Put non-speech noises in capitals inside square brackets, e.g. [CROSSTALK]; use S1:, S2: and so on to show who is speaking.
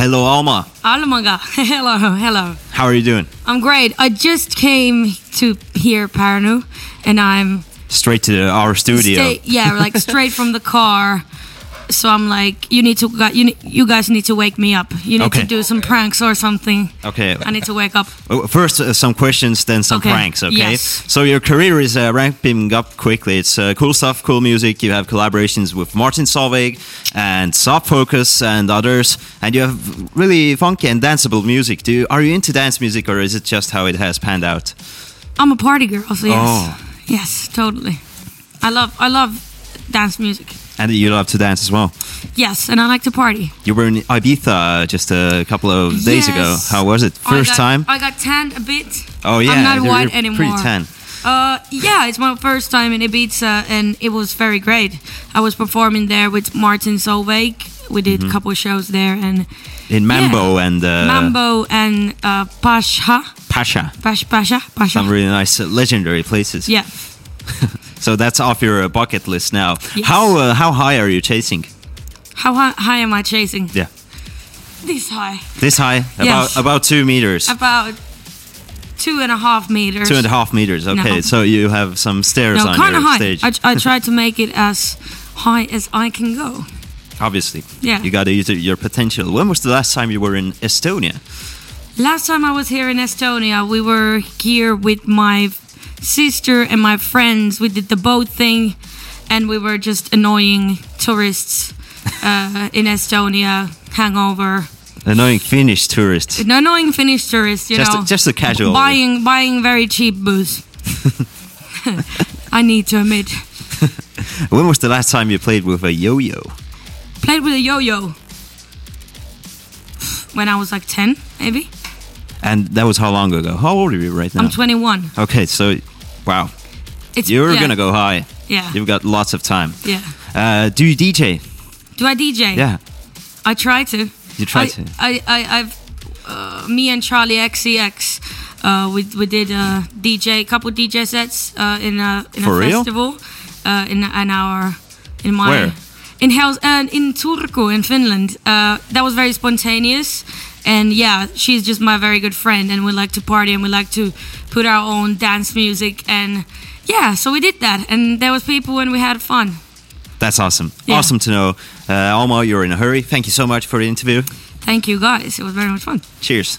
S1: Hello, Alma.
S2: Alamanga. [LAUGHS] hello, hello.
S1: How are you doing?
S2: I'm great. I just came to hear Paranu, and I'm
S1: Straight to our studio.
S2: sta-
S1: [LAUGHS]
S2: yeah, like straight from the car. So I'm like, you need to, gu- you, ne- you guys need to wake me up. You need
S1: Okay.
S2: to do some pranks or something.
S1: Okay.
S2: I need to wake up.
S1: Uh, First, uh, some questions, then some
S2: Okay.
S1: pranks. Okay.
S2: Yes.
S1: So your career is uh, ramping up quickly. It's uh, cool stuff, cool music. You have collaborations with Martin Solveig and Soft Focus and others, and you have really funky and danceable music. Do you, are you into dance music, or is it just how it has panned out?
S2: I'm a party girl, so yes,
S1: Oh.
S2: yes, totally. I love, I love dance music.
S1: And you love to dance as well.
S2: Yes, and I like to party.
S1: You were in Ibiza just a couple of days ago.
S2: Yes.
S1: How was it?
S2: I
S1: First
S2: got-
S1: time?
S2: I got tan a bit.
S1: oh yeah,
S2: I'm not
S1: you're
S2: white
S1: pretty
S2: anymore.
S1: tan.
S2: Uh, yeah, it's my first time in Ibiza, and it was very great. I was performing there with Martin Solveig. We
S1: Mm-hmm.
S2: did a couple shows there, and
S1: In Mambo and uh,
S2: Mambo and uh, Pasha,
S1: Pasha.
S2: Pash Pasha, Pasha.
S1: Some really nice, uh, legendary places.
S2: yeah,
S1: So that's off your uh, bucket list now.
S2: Yes.
S1: How uh, how high are you chasing?
S2: how hi- high am I chasing?
S1: Yeah,
S2: This high,
S1: this high,
S2: Yes.
S1: about about two meters,
S2: about two and a half meters.
S1: two and a half meters. Okay,
S2: No.
S1: so you have some stairs
S2: No,
S1: on
S2: kind
S1: your
S2: of high.
S1: stage,
S2: I, I tried to make it as high as I can go.
S1: obviously.
S2: Yeah.
S1: you got to use your potential. When was the last time you were in Estonia?
S2: Last time I was here in Estonia, we were here with my f- sister and my friends. We did the boat thing, and we were just annoying tourists uh, in Estonia, hangover,
S1: Annoying Finnish tourists.
S2: annoying Finnish tourists. You
S1: Just
S2: know,
S1: just a casual.
S2: buying buying very cheap
S1: [LAUGHS]
S2: booze. I need to admit,
S1: When was the last time you played with a yo-yo?
S2: played with a yo-yo when I was like ten, maybe.
S1: And that was how long ago? How old are you right now?
S2: I'm 21.
S1: okay, so wow,
S2: It's
S1: you're
S2: yeah,
S1: gonna go high.
S2: Yeah,
S1: You've got lots of time.
S2: yeah.
S1: Uh, do you DJ?
S2: Do I DJ?
S1: Yeah,
S2: I try to.
S1: you try
S2: I,
S1: to.
S2: I, I, I've, uh, me and Charlie XCX, uh, we, we did a DJ, couple DJ sets uh, in a, in
S1: For
S2: a
S1: real?
S2: festival, uh, in, in our, in my,
S1: Where?
S2: in Hels, uh, in Turku in Finland. Uh, that was very spontaneous, and yeah, she's just my very good friend, and we like to party and we like to put our own dance music and. Yeah, so we did that, and there was people, and we had fun.
S1: That's awesome.
S2: Yeah.
S1: Awesome to know. Uh, Alma, you're in a hurry. Thank you so much for the interview.
S2: Thank you guys; it was very much fun.
S1: Cheers.